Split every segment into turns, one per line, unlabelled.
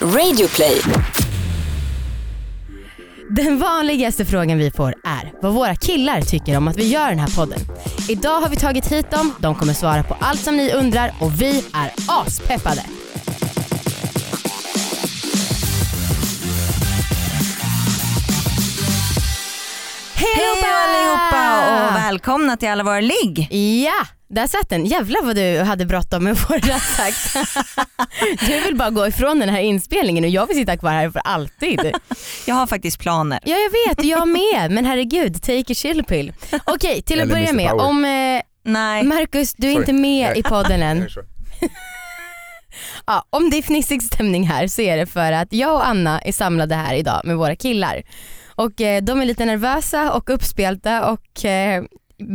Radioplay.
Den vanligaste frågan vi får är vad våra killar tycker om att vi gör den här podden. Idag har vi tagit hit dem, de kommer svara på allt som ni undrar och vi är aspeppade.
Hej
Hej
allihopa och välkomna till alla våra ligg.
Ja, där satt den. Jävlar vad du hade bråttom med våra sagt. Du vill bara gå ifrån den här inspelningen och jag vill sitta kvar här för alltid.
Jag har faktiskt planer.
Ja jag vet och jag med men herregud take a chill pill. Okej till att
Eller
börja
Mr.
med
Power.
om eh,
Nej,
Marcus du är
Sorry.
inte med
Nej.
i podden än.
Är det så?
Ja, om det är fnissig stämning här så är det för att jag och Anna är samlade här idag med våra killar. Och eh, de är lite nervösa och uppspelta och eh,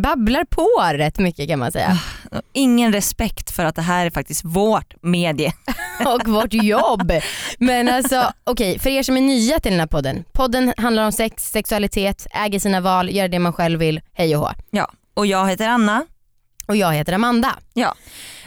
babblar på rätt mycket kan man säga.
ingen respekt för att det här är faktiskt vårt medie.
Och vårt jobb. Men alltså okej, för er som är nya till den här podden. Podden handlar om sex, sexualitet, äger sina val, gör det man själv vill, hej och hå.
Ja, och jag heter Anna.
Och jag heter Amanda.
Ja.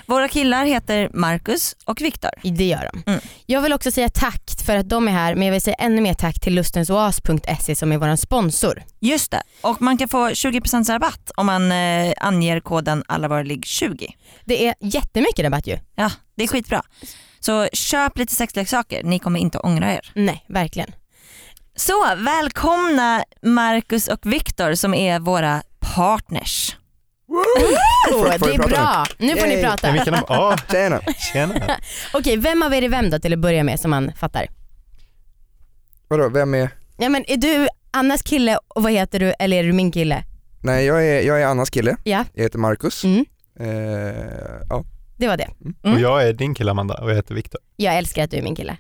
Våra killar heter Marcus och Viktor.
Det gör de.
Mm.
Jag vill också säga tack för att de är här men jag vill säga ännu mer tack till lustensoas.se E som är vår sponsor.
Just det, och man kan få 20% rabatt om man eh, anger koden alla våra ligg 20.
Det är jättemycket rabatt ju.
Ja, det är skitbra. Så köp lite sexleksaker, ni kommer inte att ångra er.
Nej, verkligen.
Så välkomna Marcus och Viktor som är våra partners.
Oh,
får
det
vi
är
prata
bra. Nu får ni
Yay.
prata.
Men vi kan ha... Ja,
Tjena.
tjena.
Okej, vem av er är vem då till att börja med som man fattar?
Vadå, vem är?
Ja men är du Annas kille och vad heter du eller är du min kille?
Nej jag är, jag är Annas kille,
Ja.
jag heter Marcus.
Mm,
Eh, ja.
det var det.
Mm.
Och jag är din kille Amanda och jag heter Viktor.
Jag älskar att du är min kille.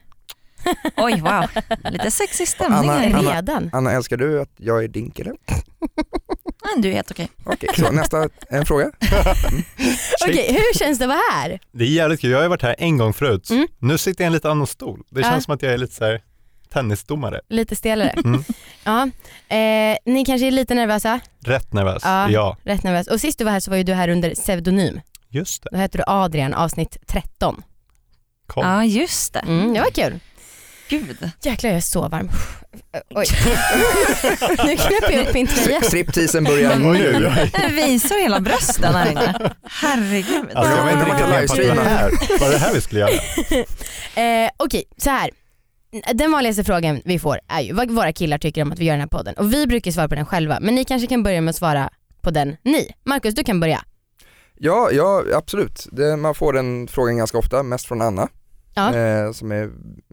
Oj wow, lite sexig stämning
Anna-
här.
Anna-
Redan?
Anna älskar du att jag är din kille?
Nej, Du är helt okej.
Okej, så nästa en fråga.
Okej, hur känns det att vara här?
Det är jävligt kul. Jag har ju varit här en gång förut.
Mm.
Nu sitter jag i en lite annan stol. Det känns
Ja.
som att jag är lite så här tennisdomare.
Lite stelare.
Mm.
Ja. Eh, ni kanske är lite nervösa?
Rätt nervös.
Ja.
Ja,
Rätt nervös. Och sist du var här så var ju du här under pseudonym.
just det.
Då hette du Adrian, avsnitt 13.
Kom.
Ja just det.
Mm, det var kul.
Gud.
Jäklar jag är så varm. Oj. nu knäpper jag upp min tröja.
Stripteasen börjar.
Mm, nu.
Den visar hela brösten här inne. Herregud.
Alltså, jag vet inte
Undrar om man
riktigt
kan
vad jag
livestreama
fattar. Var det här vi skulle göra?
Eh, Okej, så här. Den vanligaste frågan vi får är ju vad våra killar tycker om att vi gör den här podden. Och vi brukar svara på den själva, men ni kanske kan börja med att svara på den ni. Markus, du kan börja.
Ja, ja absolut. Det, man får den frågan ganska ofta, mest från Anna.
Ja.
Eh, som är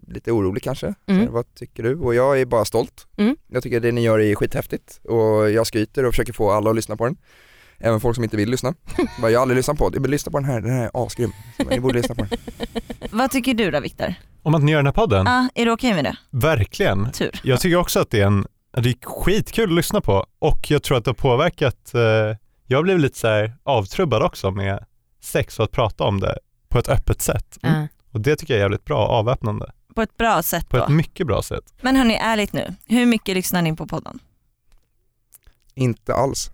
lite orolig kanske.
Mm.
Eh, Vad tycker du? Och jag är bara stolt.
Mm.
Jag tycker det ni gör är skithäftigt och jag skryter och försöker få alla att lyssna på den. Även folk som inte vill lyssna. Bara, jag har aldrig lyssnat på den, men lyssna på den här, den här är asgrym. Så, Ni borde lyssna på den.
Vad tycker du då Viktor?
Om att ni gör den här podden?
Ah, är du okej med det?
Verkligen.
Tur.
Jag tycker också att det är, en, det är skitkul att lyssna på och jag tror att det har påverkat, eh, jag blev lite så här avtrubbad också med sex och att prata om det på ett öppet sätt.
Mm.
Och det tycker jag är jävligt bra, avväpnande.
På ett bra sätt
På
då.
ett mycket bra sätt.
Men hörni, ärligt nu. Hur mycket lyssnar ni på podden?
Inte alls.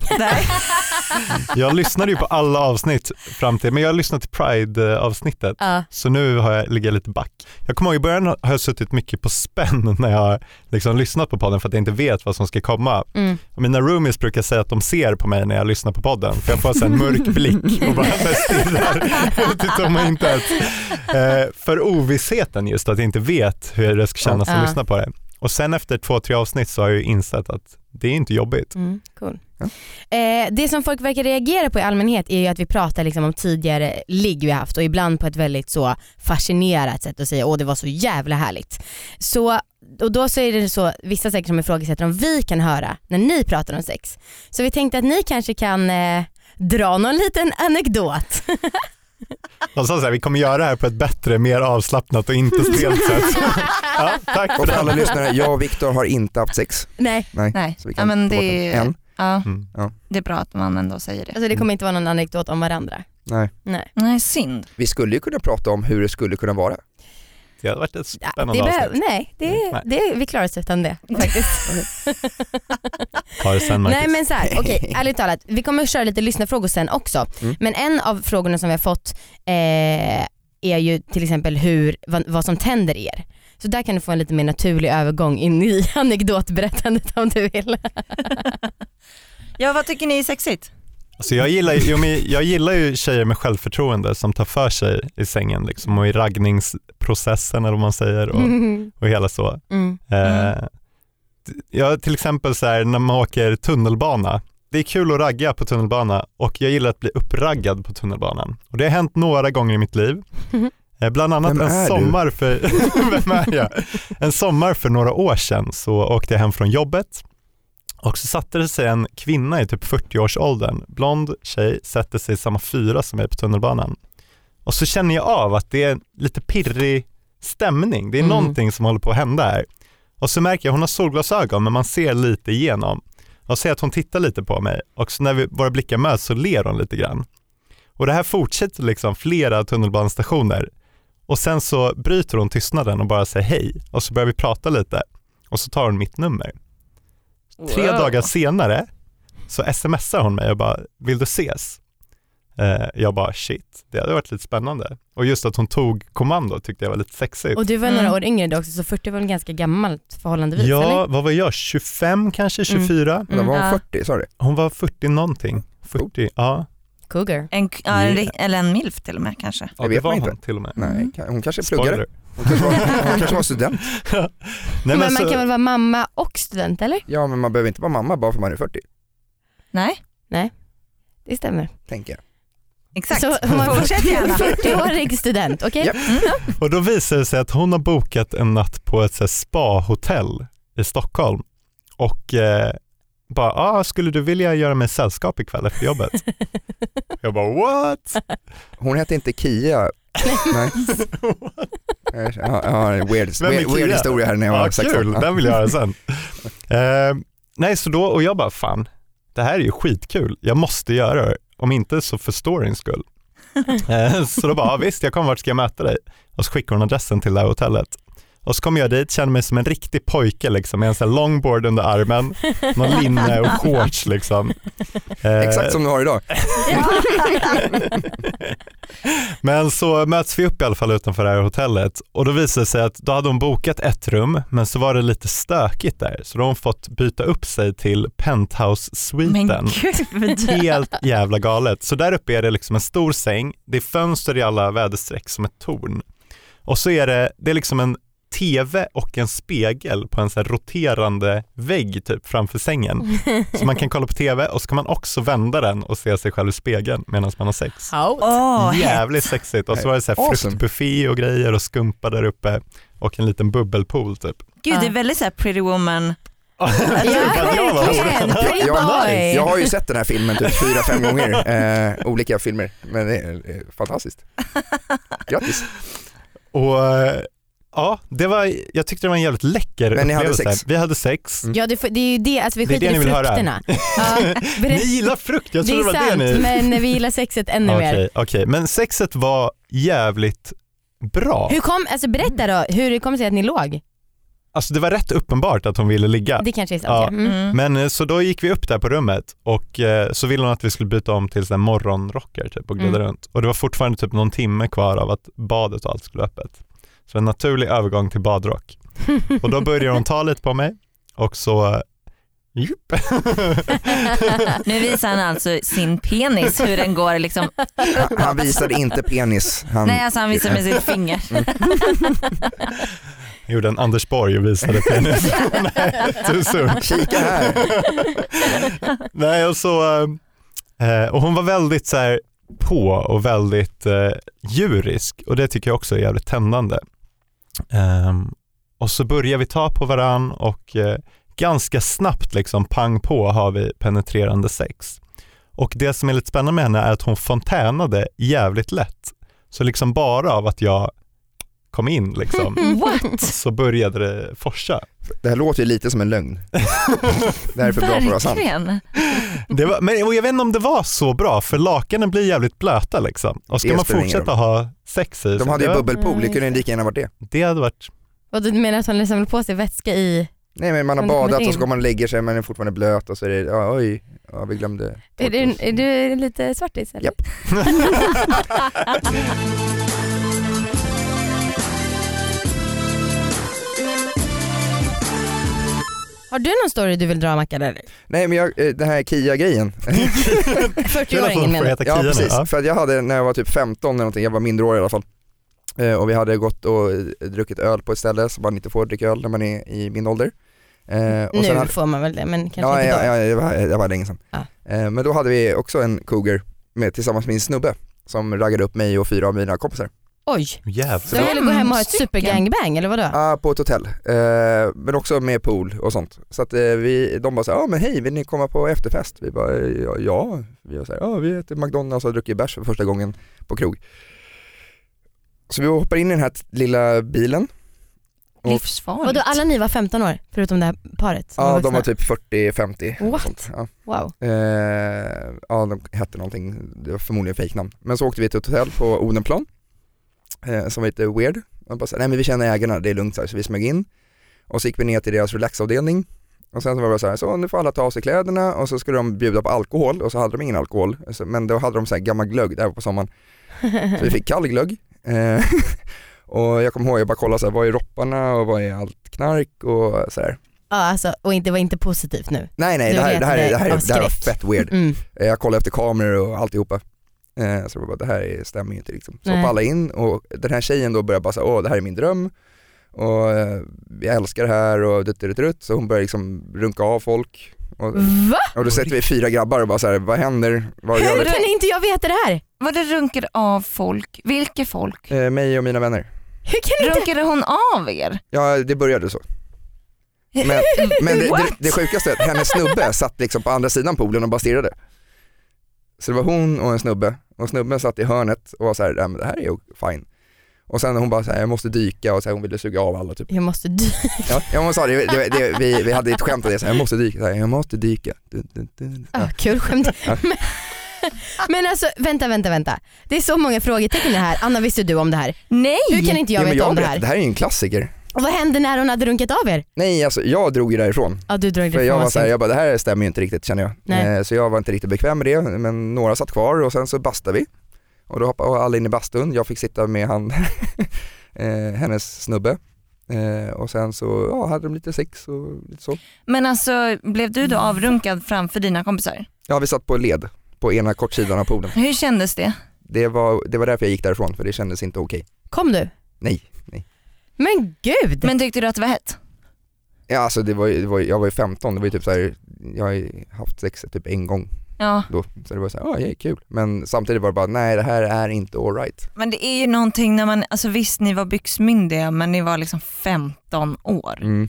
Där.
Mm.
Jag lyssnade ju på alla avsnitt fram till, men jag lyssnade till Pride-avsnittet.
Ja.
Så nu har jag, ligger jag lite back. Jag kommer ihåg i början har jag suttit mycket på spänn när jag har liksom lyssnat på podden för att jag inte vet vad som ska komma.
Mm.
Och Mina roomies brukar säga att de ser på mig när jag lyssnar på podden för jag får så här en mörk blick och bara så här stirrar ut i tomma intet. Eh, för ovissheten just att jag inte vet hur det ska kännas
Ja.
att lyssna på det. Och sen efter två, tre avsnitt så har jag ju insett att det är inte jobbigt.
Mm, cool.
Ja.
Eh, det som folk verkar reagera på i allmänhet är ju att vi pratar liksom om tidigare ligg vi haft och ibland på ett väldigt så fascinerat sätt och säga åh det var så jävla härligt. Så, och då så är det så vissa säkert som ifrågasätter om vi kan höra när ni pratar om sex. Så vi tänkte att ni kanske kan eh, dra någon liten anekdot.
De sa så här, vi kommer göra det här på ett bättre, mer avslappnat och inte stelt sätt. ja, tack för
Och för alla
det.
lyssnare, jag och Viktor har inte haft sex.
Nej,
Nej.
Nej.
Så vi
Ja,
kan
men
ta bort
det, är,
den. En?
ja,
Mm.
det är bra att man ändå säger det.
alltså det kommer inte vara någon anekdot om varandra.
Nej.
Nej.
Nej, synd.
Vi skulle ju kunna prata om hur det skulle kunna vara.
Det har varit ett
Ja,
spännande
det behöv-
avsnitt.
nej, det,
Nej.
det, vi klarar oss utan det faktiskt.
Ta det sen Marcus.
Nej men så här, okej ärligt talat, vi kommer att köra lite lyssnarfrågor sen också.
Mm.
Men en av frågorna som vi har fått eh, är ju till exempel hur, vad, vad som tänder er. Så där kan du få en lite mer naturlig övergång in i anekdotberättandet om du vill.
Ja vad tycker ni är sexigt?
Alltså jag, gillar, ju- jo, men jag gillar ju tjejer med självförtroende som tar för sig i sängen liksom, och i raggningsprocessen eller vad man säger och,
Mm.
och hela så.
Mm.
Eh, t- ja, till exempel så här, när man åker tunnelbana. Det är kul att ragga på tunnelbana och jag gillar att bli uppraggad på tunnelbanan. Och det har hänt några gånger i mitt liv.
Mhm.
Eh, Bland annat
Vem är
en
du?
sommar, för, vem är jag? en sommar för några år sedan så åkte jag hem från jobbet och så satte det sig en kvinna i typ 40-årsåldern, blond tjej, sätter sig i samma fyra som mig på tunnelbanan. Och så känner jag av att det är lite pirrig stämning, det är
Mm.
någonting som håller på att hända här. Och så märker jag, hon har solglasögon men man ser lite igenom. Jag ser att hon tittar lite på mig och så när vi, våra blickar möts så ler hon lite grann. Och det här fortsätter liksom flera tunnelbanestationer. Och sen så bryter hon tystnaden och bara säger hej och så börjar vi prata lite och så tar hon mitt nummer. Tre dagar senare så smsar hon mig och bara, vill du ses? Eh, jag bara shit, det hade varit lite spännande. Och just att hon tog kommando tyckte jag var lite sexigt.
Och du var
Mm.
några år yngre då också så 40 var väl ganska gammalt förhållandevis eller? Mm.
Ja, vad var jag, 25 kanske, 24?
Vänta, var hon
Ja.
40? Sa du det?
Hon var 40 någonting. 40, ja.
Cougar.
En, ja, en,
Yeah.
ri- eller en milf till och med kanske.
ja
Det
det
vet
var
man
hon
inte.
till och med.
Mm.
Nej, ka- hon kanske pluggade.
Spoiler.
Hon kanske, var, hon kanske var student.
Nej,
men
men så,
man kan väl vara mamma och student eller?
Ja men man behöver inte vara mamma bara för man är 40,
Nej,
Det stämmer.
tänker jag.
exakt.
Så om man
Fortsätt gärna.
40-årig student, okej?
Ja.
och då visar det sig att hon har bokat en natt på ett så här spa-hotell i Stockholm och eh, bara, ah, skulle du vilja göra mig sällskap ikväll efter jobbet? jag bara, what?
Hon hette inte Kia. Nej. Ja, ja, weird,
Vem är
weird, weird
Kia?
historia här när jag var
Ja,
sex år.
kul,
Ja.
den vill jag höra sen. Eh, nej, så då, och jag bara, fan, det här är ju skitkul, jag måste göra det, om inte så för storyns skull. Eh, så då bara, ja, visst, jag kommer, vart ska jag möta dig? Och så skickar hon adressen till det här hotellet. Och så kommer jag dit, känner mig som en riktig pojke liksom, med en sån här longboard under armen, någon linne och shorts liksom. Eh,
Exakt som du har idag.
Men så möts vi upp i alla fall utanför det här hotellet och då visade det sig att då hade hon bokat ett rum men så var det lite stökigt där så då har hon fått byta upp sig till
Men
penthouse-sviten.
gud.
Helt jävla galet. Så där uppe är det liksom en stor säng, det är fönster i alla väderstreck som ett torn. Och så är det, det är liksom en tv och en spegel på en så här roterande vägg typ framför sängen. Så man kan kolla på tv och så kan man också vända den och se sig själv i spegeln medan man har sex.
How?
Åh,
Jävligt sexigt och så var det så här
Awesome.
fruktbuffé och grejer och skumpa där uppe och en liten bubbelpool typ.
gud det är väldigt så här pretty woman.
Jag tycker att jag var
verkligen.
horan.
Pretty
Jag,
boy.
jag har ju sett den här filmen typ fyra, fem gånger, eh, olika filmer. Men det är eh, fantastiskt. Grattis.
Och eh, ja, det var, jag tyckte det var en jävligt läcker
Men ni hade sex? Mm.
Vi hade sex.
Ja det, får- det är ju det, alltså vi
Det är
skiter
det
i
ni vill höra.
frukterna. Ja,
Ni
berätta.
gillar frukt, jag
det
trodde
är
det var det
sant
ni...
men vi gillar sexet ännu
Okej,
mer.
okej. men sexet var jävligt bra.
Hur kom, alltså berätta då hur det kom sig att ni låg.
Alltså det var rätt uppenbart att hon ville ligga.
Det kanske är sant
Ja.
ja. Mm.
Mm.
Men eh, så då gick vi upp där på rummet och eh, så ville hon att vi skulle byta om till sån här morgonrockar typ och glida
Mm.
runt. Och det var fortfarande typ någon timme kvar av att badet och allt skulle vara öppet. Så en naturlig övergång till badrock. Och då började hon ta lite på mig och så eh, jupp.
Nu visar han alltså sin penis hur den går liksom.
Han, han visade inte penis. Han,
Nej alltså han visar med sitt finger.
Jag gjorde en Anders Borg och visade penis. Nej, too soon.
Kika här.
Nej, och så, eh, och hon var väldigt så här på och väldigt eh, djurisk och det tycker jag också är jävligt tändande. Ehm, och så börjar vi ta på varann och eh, ganska snabbt liksom pang på har vi penetrerande sex. Och det som är lite spännande med henne är att hon fontänade jävligt lätt. Så liksom bara av att jag kom in liksom
What?
så började det forsa.
Det här låter ju lite som en lögn. Det här är för bra för att vara sant.
Verkligen.
Det var, men, och jag vet inte om det var så bra för lakanen blir jävligt blöta liksom. Och ska
Det
man
spelar ingen
fortsätta ha sex
De
i så
hade ju
det,
bubbelpool, det kunde
Mm.
ju lika gärna varit det.
det hade varit,
Och du menar att hon samlar på sig vätska i,
Nej men man har
Men det kommer
badat och så
in.
går man och lägger sig men är fortfarande blöt och så är det, ja, oj, ja, vi glömde.
är du,
torka oss.
är du lite svartis eller?
Japp.
Har du någon story du vill dra Mackan eller?
Nej men jag, eh, den här KIA-grejen.
Kul att
40-åringen
hon får
menar
heta Kia
ja
nu.
precis,
Ja.
för att jag hade när jag var typ 15 eller någonting, jag var mindreårig i alla fall. Eh, och vi hade gått och eh, druckit öl på ett ställe som man inte får dricka öl när man är i min ålder. Eh, och
Nu
sen hade-
får man väl det men kanske
ja,
inte
ja,
då.
ja, det var, det var länge sedan.
Ja.
Eh, men då hade vi också en cougar med, tillsammans med en snubbe som raggade upp mig och fyra av mina kompisar.
Oj, så
Jävlar.
jag ville gå hem och ha ett
stycken.
supergangbang eller vadå?
Ja, på ett hotell. Eh, men också med pool och sånt. Så att eh, vi, de bara så här, ja men hej, vill ni komma på efterfest? Vi bara, "Eh, ja. ja." Vi var så här, ja vi äter McDonalds och har druckit bärs för första gången på krog. Så vi hoppar in i den här t- lilla bilen. Och-
Livsfarligt.
Vadå alla ni var 15 år förutom det här paret? som
Ja, de var
vuxna?
typ 40-50. och
What?
sånt. Ja.
Wow.
Eh, ja, de hette någonting, det var förmodligen fejknamn. Men så åkte vi till ett hotell på Odenplan, eh, som var lite weird. Och bara så här, nej men vi känner ägarna, det är lugnt så, här. så vi smög in. Och så gick vi ner till deras relaxavdelning. Och sen så var det bara så här, så nu får alla ta av sig kläderna och så skulle de bjuda på alkohol och så hade de ingen alkohol. Så- Men då hade de så här gammal glögg där på sommaren. Så vi fick kall glögg. Eh, och jag kommer ihåg, jag bara kollade så här, vad är ropparna och vad är allt knark och så här.
Ja alltså och inte, var inte positivt nu.
Nej nej,
Du
det här, det här, är- det här, är-
retade
det här var
av skräck.
fett weird.
Mm.
Eh, Jag kollade efter kameror och alltihopa. Eh, Så det var bara, det här är- stämmer ju inte liksom. Så
Nej.
hoppade alla in och den här tjejen då började bara säga, åh det här är min dröm och eh, jag älskar det här och dutt, dutt, dutt. Så hon började liksom runka av folk. Och,
Va?
och då sätter vi fyra grabbar och bara så här, vad händer? Vad gör
Hur
vi?
kan inte jag veta det här?
Var det runkade av folk? Vilka folk?
Eh, Mig och mina vänner.
Hur kan inte...
Runkade hon av er?
Ja det började så. Men, men det, det,
What?
det sjukaste är att hennes snubbe satt liksom på andra sidan poolen och bara stirrade. Så det var hon och en snubbe och snubben satt i hörnet och var så här, "Nej, men det här är ju fine. Och sen hon bara så här, jag måste dyka och så här, hon ville suga av alla typ.
Jag måste dö.
Ja, jag måste, det, det, det, vi, vi hade ett skämt om det, så här, jag måste dyka, så här, jag måste dyka. Dun, dun, dun.
Ah,
Ja.
kul skämt.
Ja.
Men- Men alltså vänta, vänta, vänta. Det är så många frågetecken i det här. Anna visste du om det här?
Nej!
Hur kan inte jag
Ja, men
veta om det
berättar-
här?
det här är ju en klassiker.
Och vad hände när hon hade runkat av er?
Nej alltså jag drog ju därifrån.
Ja du drog
För
det
jag
från
var
oss.
så här, jag bara det här stämmer ju inte riktigt känner jag.
Nej.
Eh, Så jag var inte riktigt bekväm med det, men några satt kvar och sen så bastade vi. Och då hoppade alla in i bastun, jag fick sitta med han, eh, hennes snubbe. Eh, Och sen så ja, hade de lite sex och lite så.
Men alltså blev du då avrunkad framför dina kompisar?
Ja vi satt på led på ena kortsidan av poolen.
Hur kändes det?
Det var, det var därför jag gick därifrån för det kändes inte okej.
Kom du?
Nej, nej.
Men gud!
Men tyckte du att det var hett?
Ja, alltså det var, ju- det var, ju- jag var ju 15, det var ju typ så här, jag har ju haft sex typ en gång
Ja,
då. Så det var så här, ja det är kul. Men samtidigt var det bara, nej det här är inte alright.
men det är ju någonting när man, alltså visst ni var byxmyndiga men ni var liksom 15 år.
Mm.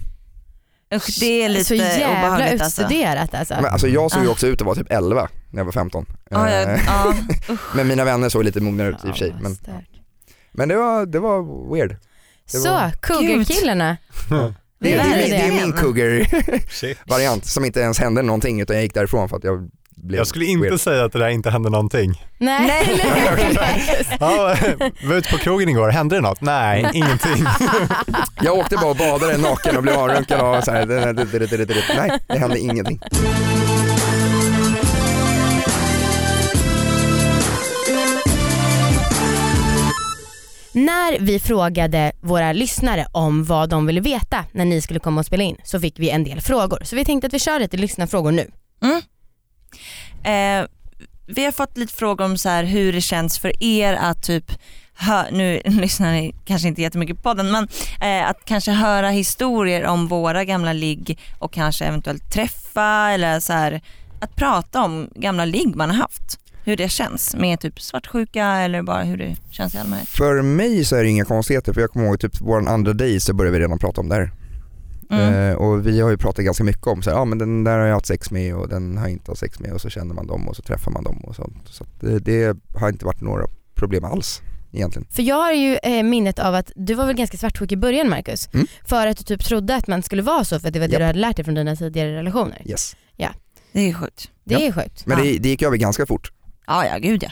Usch, det är lite
så jävla
obehagligt alltså.
utstuderat alltså.
Men alltså jag såg ju
Ah.
också ut att vara typ 11 när jag var 15.
Ja,
Eh,
ja, ja.
Men mina vänner såg lite mognare ut i och
Ja,
för sig.
vad
Men,
starkt.
men det, var, det var weird. det var-
Så, cougar-killarna.
Det,
Vi
det,
lärde
det,
dig
det är min cougar-variant
Shit.
som inte ens hände någonting utan jag gick därifrån för att jag blev
Jag skulle inte
weird.
säga att det där inte hände någonting.
Nej,
Nej.
nej.
Ja, var ute på krogen igår, hände det något? Nej, ingenting.
Jag åkte bara och badade naken och blev avrunkad av så här, det- det- det- det- det- det- nej det hände ingenting.
När vi frågade våra lyssnare om vad de ville veta när ni skulle komma och spela in så fick vi en del frågor. Så vi tänkte att vi kör lite lyssnarfrågor nu.
Mm. Eh, vi har fått lite frågor om så här hur det känns för er att typ hö- nu lyssnar ni kanske inte jättemycket på podden men eh, att kanske höra historier om våra gamla ligg och kanske eventuellt träffa eller så här att prata om gamla ligg man har haft. Hur det känns med typ svartsjuka eller bara hur det känns i allmänhet.
För mig så är det inga konstigheter för jag kommer ihåg typ vår andra day så började vi redan prata om det här.
Mm.
Eh, och vi har ju pratat ganska mycket om så här, ah, men den där har jag haft sex med och den har jag inte haft sex med och så känner man dem och så träffar man dem och sånt. Så att det, det har inte varit några problem alls egentligen.
För jag har ju eh, minnet av att du var väl ganska svartsjuk i början Marcus?
Mm.
För att du typ trodde att man skulle vara så för att det var det
Japp.
du hade lärt dig från dina tidigare relationer.
Yes.
Det är ju sjukt.
Det
Japp.
är sjukt.
Men
Ja.
det, det gick över ganska fort.
Ja, ja gud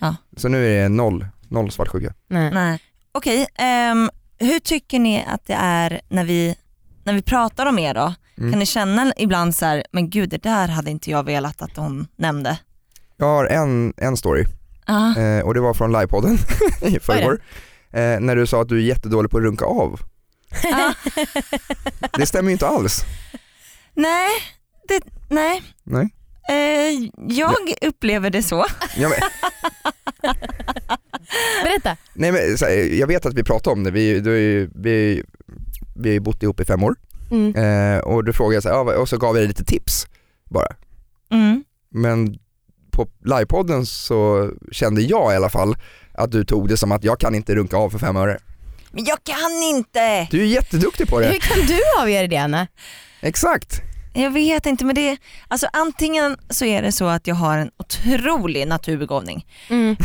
ja.
Så nu är det noll, noll svartsjuka.
Nej.
Nej. Okej, ehm, hur tycker ni att det är när vi, när vi pratar om er då?
Mm.
Kan ni känna ibland så här, men gud det där hade inte jag velat att hon nämnde?
Jag har en, en story
Ja.
eh, och det var från livepodden i förrgår. Eh, när du sa att du är jättedålig på att runka av. Det stämmer ju inte alls.
Nej, det, nej.
Nej.
Eh, jag upplever det så.
Ja, men,
Berätta.
nej, men, så här, jag vet att vi pratade om det, vi, du, är ju- vi, vi har ju bott ihop i fem år
Mm.
eh, och då frågade jag så här, ja, vad- och så gav jag dig lite tips bara.
Mm.
Men på livepodden så kände jag i alla fall att du tog det som att jag kan inte runka av för fem öre.
Men jag kan inte!
Du är jätteduktig på
Hur
det.
kan du avgöra det Anna?
Exakt.
Jag vet inte men det, alltså antingen så är det så att jag har en otrolig naturbegåvning.
Mm.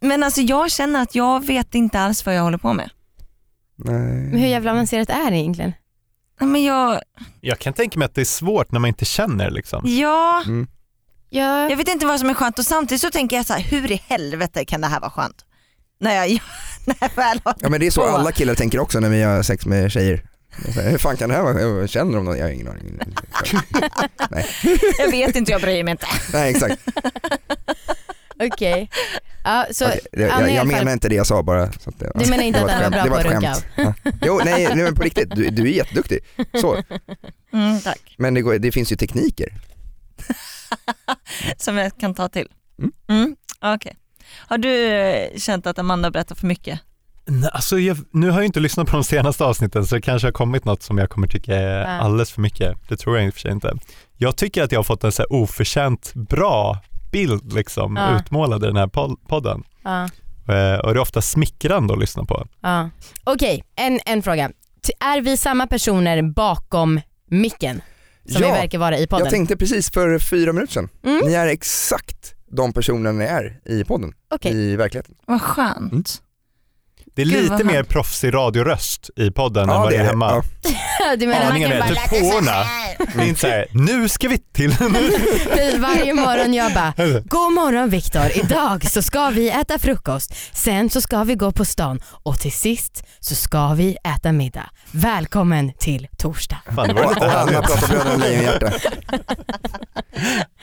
Men alltså jag känner att jag vet inte alls vad jag håller på med.
Men
Nej.
hur jävla avancerat är det egentligen?
Nej, Men jag,
Jag kan tänka mig att det är svårt när man inte känner liksom.
ja,
Mm.
Ja.
jag vet inte vad som är skönt och samtidigt så tänker jag så här, hur i helvete kan det här vara skönt? När jag, när jag väl har
Ja men det är så
Åh.
alla killar tänker också när vi har sex med tjejer. Jag säger, Hur fan kan det här vara, jag känner de någon? Jag har ingen aning.
Jag vet inte, jag bryr mig inte.
Nej exakt,
Okej. Ja, så
Okej,
Anna i
det- jag,
alla
jag
fall-
menar inte det jag sa bara. Så att det,
du menar inte
det var
att
ett
Anna var bra
skämt.
på att
Det var ett
runka av?
skämt. Jo nej, nej men på riktigt, du, du är jätteduktig. Så.
Mm, tack.
Men det, går, det finns ju tekniker.
Som jag kan ta till.
Mm.
Mm. Okej. Har du eh, känt att Amanda berättar för mycket?
Nej, Alltså, jag, nu har jag inte lyssnat på de senaste avsnitten så det kanske har kommit något som jag kommer tycka är
Ja.
alldeles för mycket. Det tror jag i och för sig inte. Jag tycker att jag har fått en så här oförtjänt bra bild liksom,
Ja.
utmålad i den här pod- podden.
Ja.
Eh, Och det är ofta smickrande att lyssna på.
Ja. Okej, en, en fråga. Ty- Är vi samma personer bakom micken som vi
ja,
verkar vara i podden?
jag tänkte precis för fyra minuter sedan.
Mm.
Ni är exakt de personerna ni är i podden,
Okej.
i verkligheten.
Vad skönt.
Mm.
Det är
Gud, vad
lite mer
skönt.
proffsig radioröst i podden än vad det är hemma.
Ja.
Du menar man
Aningen
kan
är
bara,
typ påorna. Det är inte så här, nu ska vi till...
Typ varje morgon jag bara, god morgon Viktor, idag så ska vi äta frukost, sen så ska vi gå på stan och till sist så ska vi äta middag. Välkommen till torsdag.
Fan, det var
Och,
lite
och Hanna
härligt.
pratar Bröderna Lejonhjärta.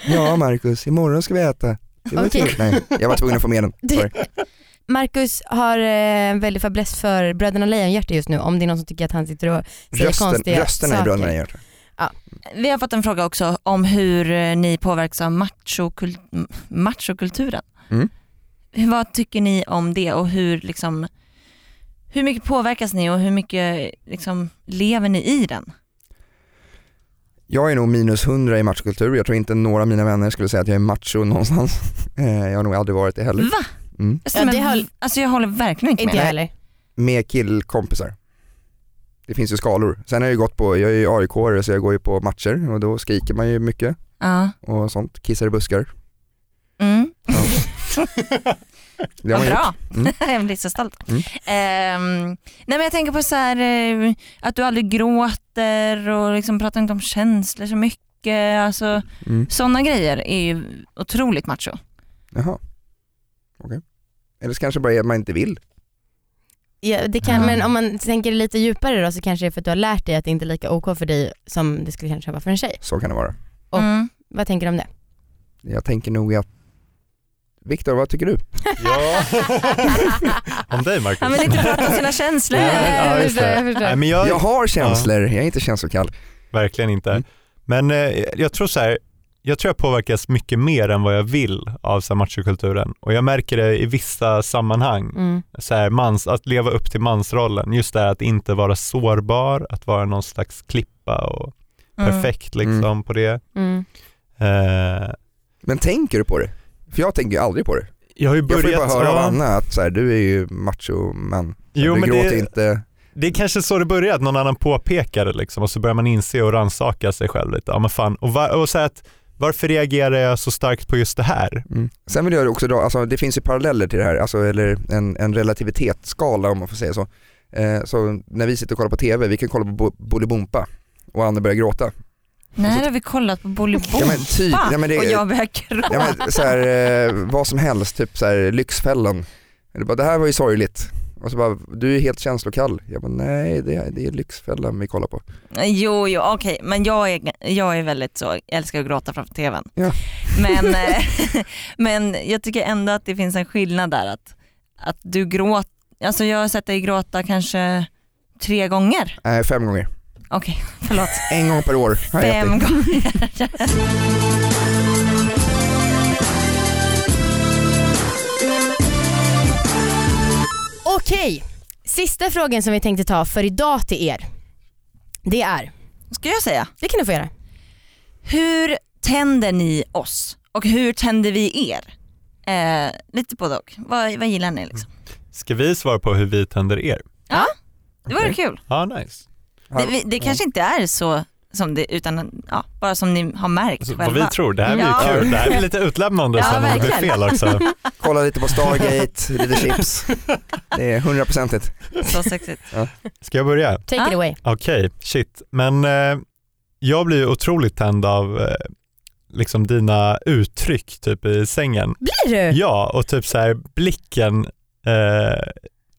Ja Marcus, imorgon ska vi äta. Det var
Okej.
trevligt. Nej, jag var tvungen att få med den.
Du-
Sorry.
Marcus har eh, en väldig fäbless för Bröderna Lejonhjärta just nu om det är någon som tycker att han sitter och säger
Rösten,
konstiga
rösterna i
saker.
Bröderna Lejonhjärta.
Vi har fått en fråga också om hur eh, ni påverkas av machokult m- machokulturen.
Mm.
Hur- Vad tycker ni om det och hur, liksom, hur mycket påverkas ni och hur mycket liksom, lever ni i den?
Jag är nog minus 100 i machokultur, jag tror inte några av mina vänner skulle säga att jag är macho någonstans. Eh, Jag har nog aldrig varit det heller.
Va?
Mm.
Alltså,
Ja,
men,
det har-
alltså, jag håller verkligen inte,
Inte jag
med.
heller.
Med killkompisar. Det finns ju skalor. Sen har jag ju gått på, jag är ju aik så jag går ju på matcher och då skriker man ju mycket
Ja.
och sånt, kissar i buskar.
Mm.
Det
Vad
har man gjort.
bra.
Mm.
jag blir så stolt.
Mm.
Ehm, nej men jag tänker på så här, eh, att du aldrig gråter och liksom pratar inte om känslor så mycket. Alltså,
Mm.
sådana grejer är ju otroligt macho.
Jaha, okej. Eller så kanske bara är att man inte vill.
Ja, det kan,
Ja.
Men om man tänker lite djupare då så kanske det är för att du har lärt dig att det inte är lika OK för dig som det skulle kanske vara för en tjej.
Så kan det vara.
Och-
Mm.
Vad tänker du om det?
Jag tänker nog att Viktor, vad tycker du?
Ja. Om dig Marcus.
Han vill inte prata om sina känslor.
Nej, ja, just det.
Jag förstår, jag förstår.
Nej, men jag,
Jag har känslor, jag är inte känslokall.
Verkligen inte.
Mm.
Men eh, jag tror så här, jag tror jag påverkas mycket mer än vad jag vill av så här, machokulturen. Och jag märker det i vissa sammanhang.
Mm.
Så här, mans, att leva upp till mansrollen. Just det här att inte vara sårbar, att vara någon slags klippa och
Mm.
perfekt liksom
Mm.
på det.
Mm.
Eh,
Men tänker du på det? För jag tänker ju aldrig på det.
jag har ju
Jag
börjat...
får ju bara höra av
ja.
Anna att så här, du är ju macho man.
Jo,
du
men
gråter
det,
inte.
Det är kanske så det börjar, att någon annan påpekar det liksom, och så börjar man inse och rannsaka sig själv lite. Ja, men fan. Och, va- och så här att, varför reagerar jag så starkt på just det här?
Mm. Sen vill jag också dra, alltså, det finns ju paralleller till det här, alltså, eller en, en relativitetsskala om man får säga så. Eh, så när vi sitter och kollar på TV, vi kan kolla på Bo- Bolibompa och Anna börjar gråta.
Nej, det har vi kollat på Bolibompa
Ja, men typ, ja, men det,
och jag börjar gråta.
ja, men, så här, eh, vad som helst, typ så här, Lyxfällan. Eller bara, det här var ju sorgligt. Och så bara, du är helt känslokall. Jag bara, nej det, det är Lyxfällan vi kollar på.
Jo, jo okej, men jag är, jag är väldigt så, jag älskar att gråta framför tvn.
Ja.
Men, eh, men jag tycker ändå att det finns en skillnad där att, att du gråter, alltså jag har sett dig gråta kanske tre gånger.
Nej, fem gånger.
Okej, Okej, förlåt.
En gång per år har jag
Fem
ätit.
gånger.
Okej, sista frågan som vi tänkte ta för idag till er. Det är,
Ska jag säga.
det kan du få göra.
Hur tänder ni oss? Och hur tänder vi er? Eh, lite både och. Vad, vad gillar ni liksom?
Ska vi svara på hur vi tänder er?
Det vore
Okej.
kul.
Ja, nice.
Det, vi- det kanske inte är så som det utan ja, bara som ni har märkt
Alltså, vad vi
själva.
tror, det här blir
Ja.
kul. Det här blir lite utlämnande
Ja,
sen om det blir
verkligen.
fel också.
Kolla lite på Stargate, lite chips. Det är hundraprocentigt.
Så sexigt.
Ska jag börja?
Take
Ja.
it away.
Okej, shit. Men eh, jag blir ju otroligt tänd av eh, liksom dina uttryck typ i sängen.
Blir du?
Ja, och typ så här blicken eh,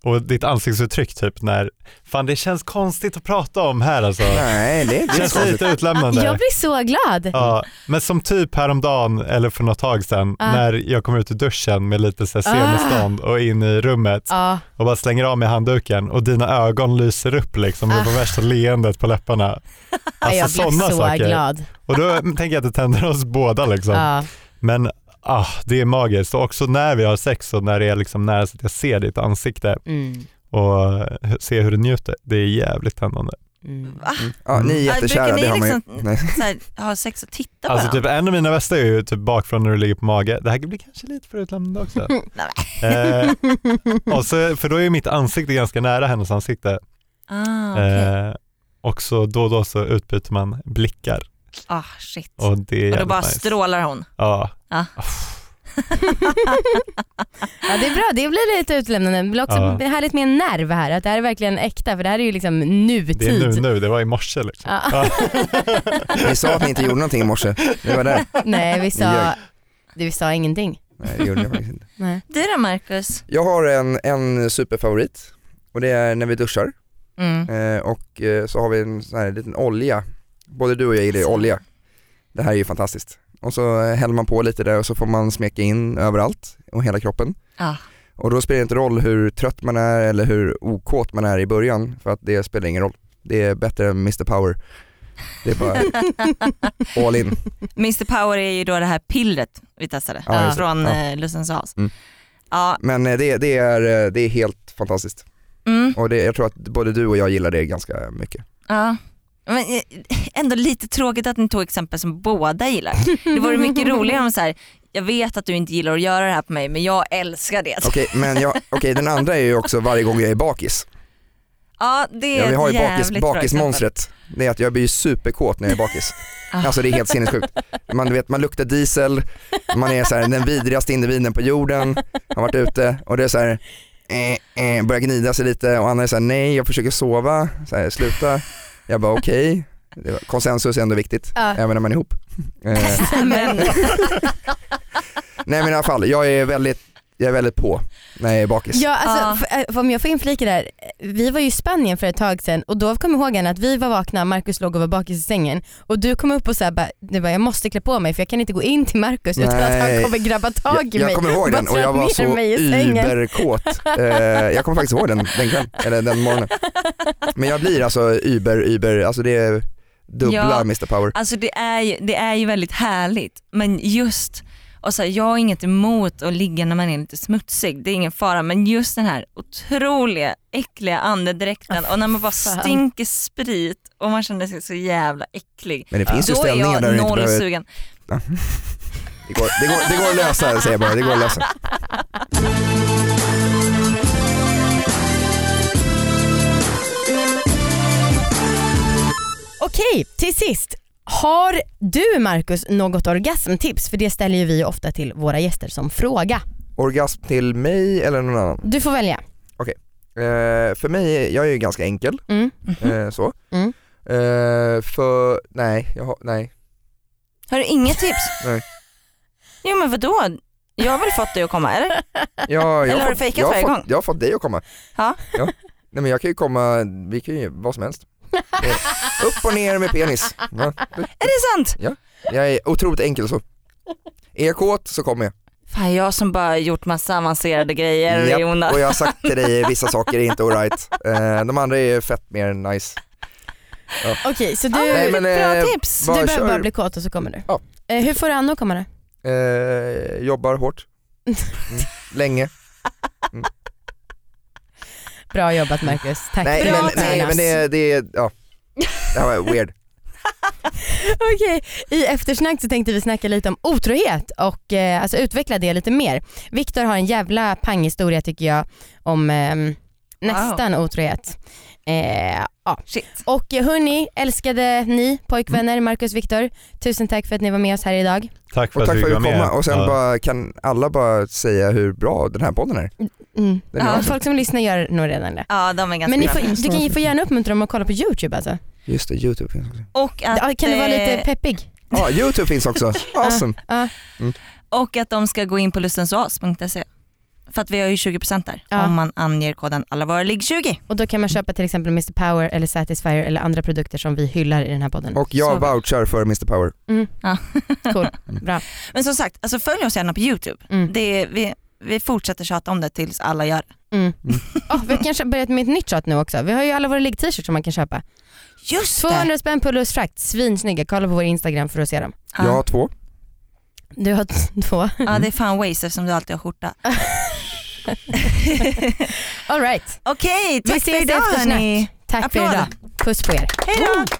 och ditt ansiktsuttryck typ när, fan det känns konstigt att prata om här alltså.
Nej, det är
Det
inte så
känns
konstigt.
lite utlämnande.
Jag blir så glad.
Ja, men som typ häromdagen eller för något tag sedan
Ah.
när jag kom ut ur duschen med lite så här semistånd och in i rummet
Ja.
och bara slänger av mig handduken och dina ögon lyser upp liksom och du får värsta leendet på läpparna. Alltså
Ah. jag blev
sådana
så
saker.
glad.
Och då tänker jag att det tänder oss båda liksom.
Ja.
Men ah, det är magiskt och också när vi har sex och när det är liksom nära så att jag ser ditt ansikte
Mm.
och eh, ser hur du njuter. Det är jävligt tändande.
Mm.
Va?
Ja, ni är
Ja,
jättekära,
Alltså, brukar ni
det har man ju.
liksom-
Nej.
Så här, ha sex och titta på
Alltså
varandra.
typ en av mina bästa är ju typ bakifrån när du ligger på mage. Det här blir kanske lite för utlämnande också. eh, och så, för då är ju mitt ansikte ganska nära hennes ansikte.
Ah, okej.
eh, och så då och då så utbyter man blickar
ah shit. Och,
och det är
då
jävligt
bara
nice.
strålar hon.
Ja.
Ja.
Uff.
Ja det är bra, det blir lite utlämnande. Det blir också
Ja.
härligt med en nerv här, att det här är verkligen äkta för det här är ju liksom nutid.
Det är nu nu, det var i morse liksom.
Ja.
Ja.
Ni sa att ni inte gjorde någonting i morse. Det var där.
Nej vi
Ni
sa,
ljög.
vi sa ingenting.
Nej, det gjorde ni faktiskt inte.
Nej.
Du då Marcus?
Jag har en, en superfavorit och det är när vi duschar
Mm.
eh, och eh, så har vi en sån här liten olja. Både du och jag gillar ju olja. Det här är ju fantastiskt. Och så eh, häller man på lite där och så får man smeka in överallt och hela kroppen.
Ah.
Och då spelar det inte roll hur trött man är eller hur okåt man är i början för att det spelar ingen roll. Det är bättre än Mr Power. Det är bara all in.
Mr Power är ju då det här pillret vi testade
Ja,
just det.
från
Ja.
ja. Lussens och Haas.
Mm.
Ja,
Men eh, det, det, är, eh, det är helt fantastiskt.
mm,
Och det, jag tror att både du och jag gillar det ganska mycket.
ja. Men eh, ändå lite tråkigt att ni tog exempel som båda gillar. Det vore mycket roligare om så här, jag vet att du inte gillar att göra det här på mig men jag älskar det.
Okej, men jag, okej, den andra är ju också varje gång jag är bakis.
Ja det är
Ja, vi har ju
ett
bakis,
jävligt bra exempel.
bakismonstret. Det är att jag blir ju superkåt när jag är bakis.
Ah.
Alltså det är helt sinnessjukt. Man, du vet, man luktar diesel, man är så här, den vidrigaste individen på jorden, har varit ute och det är så här, eh, eh, börjar gnida sig lite och Anna är så här, nej jag försöker sova, så här, sluta. Jag bara okej, Det var- konsensus är ändå viktigt,
Ja.
även när man är ihop. Eh,
Men,
nej men i alla fall, jag är väldigt, jag är väldigt på när jag är bakis.
ja, alltså,
Ja.
för, eh, om jag får inflika där, vi var ju i Spanien för ett tag sedan och då kom jag ihåg Anna, att vi var vakna, Markus låg och var bakis i sängen och du kom upp och sa bara, du bara jag måste klä på mig för jag kan inte gå in till Markus utan att han
Nej.
kommer grabba tag i
jag,
mig.
jag kommer ihåg
Bara
den och jag
tröt
var
ner
så
mig i sängen.
überkåt. Eh, jag kommer faktiskt ihåg den den kvällen, eller den morgonen. Men jag blir alltså über, über, alltså det är dubbla
Ja.
Mr Power.
Alltså det är, ju, det är ju väldigt härligt men just, och så här, jag har inget emot att ligga när man är lite smutsig, det är ingen fara men just den här otroliga äckliga andedräkten och när man bara
fan.
stinker sprit och man känner sig så jävla äcklig.
Men det finns ju
Då är
ställningar
jag
där du inte
noll
behöver,
sugen.
det går, det, går, det går att lösa säger jag bara, det går att lösa.
Okej, till sist. Har du Markus något orgasmtips? För det ställer ju vi ju ofta till våra gäster som fråga.
Orgasm till mig eller någon annan?
Du får välja.
Eh, för mig, jag är ju ganska enkel,
Mm.
eh, så.
Mm.
Eh, för, nej, jag har, nej.
Har du inget tips?
Nej.
Jo men vadå? Jag har väl fått dig att komma eller?
Ja, jag
Eller har du
fått-
fejkat
jag
varje
fått,
gång?
Jag har fått dig att komma.
Ja.
Nej men jag kan ju komma, vi kan ju vad som helst. Eh, Upp och ner med penis. Ja.
Är det sant?
Jag är otroligt enkel så. Är jag kåt så kommer jag.
Fan jag som bara gjort massa avancerade grejer
Japp,
Jonas.
Och jag har sagt till dig vissa saker är inte alright. Eh, de andra är fett mer nice.
Okej så du,
Ah,
Nej, men, eh,
Bra tips!
du
bara
behöver
kör.
bara bli kåt och så kommer du.
Ja.
Eh, hur får du Anna att komma då?
Eh, jobbar hårt. Mm. Länge.
Bra jobbat Marcus, tack.
Nej
Bra
men, nej,
tränat.
men det, är- det är, ja. Det här var weird.
Okej, i eftersnack så tänkte vi snacka lite om otrohet och eh, alltså utveckla det lite mer. Viktor har en jävla panghistoria tycker jag om ehm, nästan otrohet. Eh, ja.
Shit.
Och eh, hörni, älskade ni pojkvänner, Marcus, Viktor, tusen tack för att ni var med oss här idag.
Tack för
Och
att
tack
du
för
fick
att
vara
du
med.
kom och sen
Ja.
bara, kan alla bara säga hur bra den här podden är?
Mm.
Den är
Ja.
Ja,
awesome.
folk som lyssnar gör nog redan det.
Ja de är ganska
Men ni
bra.
får, du kan ju få gärna uppmuntra dem att kolla på YouTube alltså.
Just det, Youtube finns också.
Och att,
Ja, Kan du vara lite
eh,
peppig?
Ja, Youtube finns också. Awesome.
Ja,
och att de ska gå in på lustensoas.se. E. För att vi har ju 20% där
Ja.
om man anger koden allavaraligg20.
och då kan man köpa till exempel Mr Power eller Satisfyer eller andra produkter som vi hyllar i den här podden.
Och jag
Så bra.
vouchar för Mr Power.
Mm.
Ja.
Cool, bra.
Men som sagt, alltså följ oss gärna på YouTube.
Mm.
Det är, vi, vi fortsätter tjata om det tills alla gör det.
Mm. Oh, vi har kanske börjat med ett nytt shot nu också. Vi har ju alla våra ligg-t-shirts som man kan köpa.
Just det!
200 spänn på Lust Frakt, svinsnygga. Kolla på vår Instagram för att se dem.
Jag har två.
Du har t- två.
Ja det är fan waste eftersom du alltid har skjorta.
All right.
Okej,
Vi
tack för
ses i
idag
eftersnack.
hörni.
Tack för
Applåder.
idag. Puss på er.
Hej då!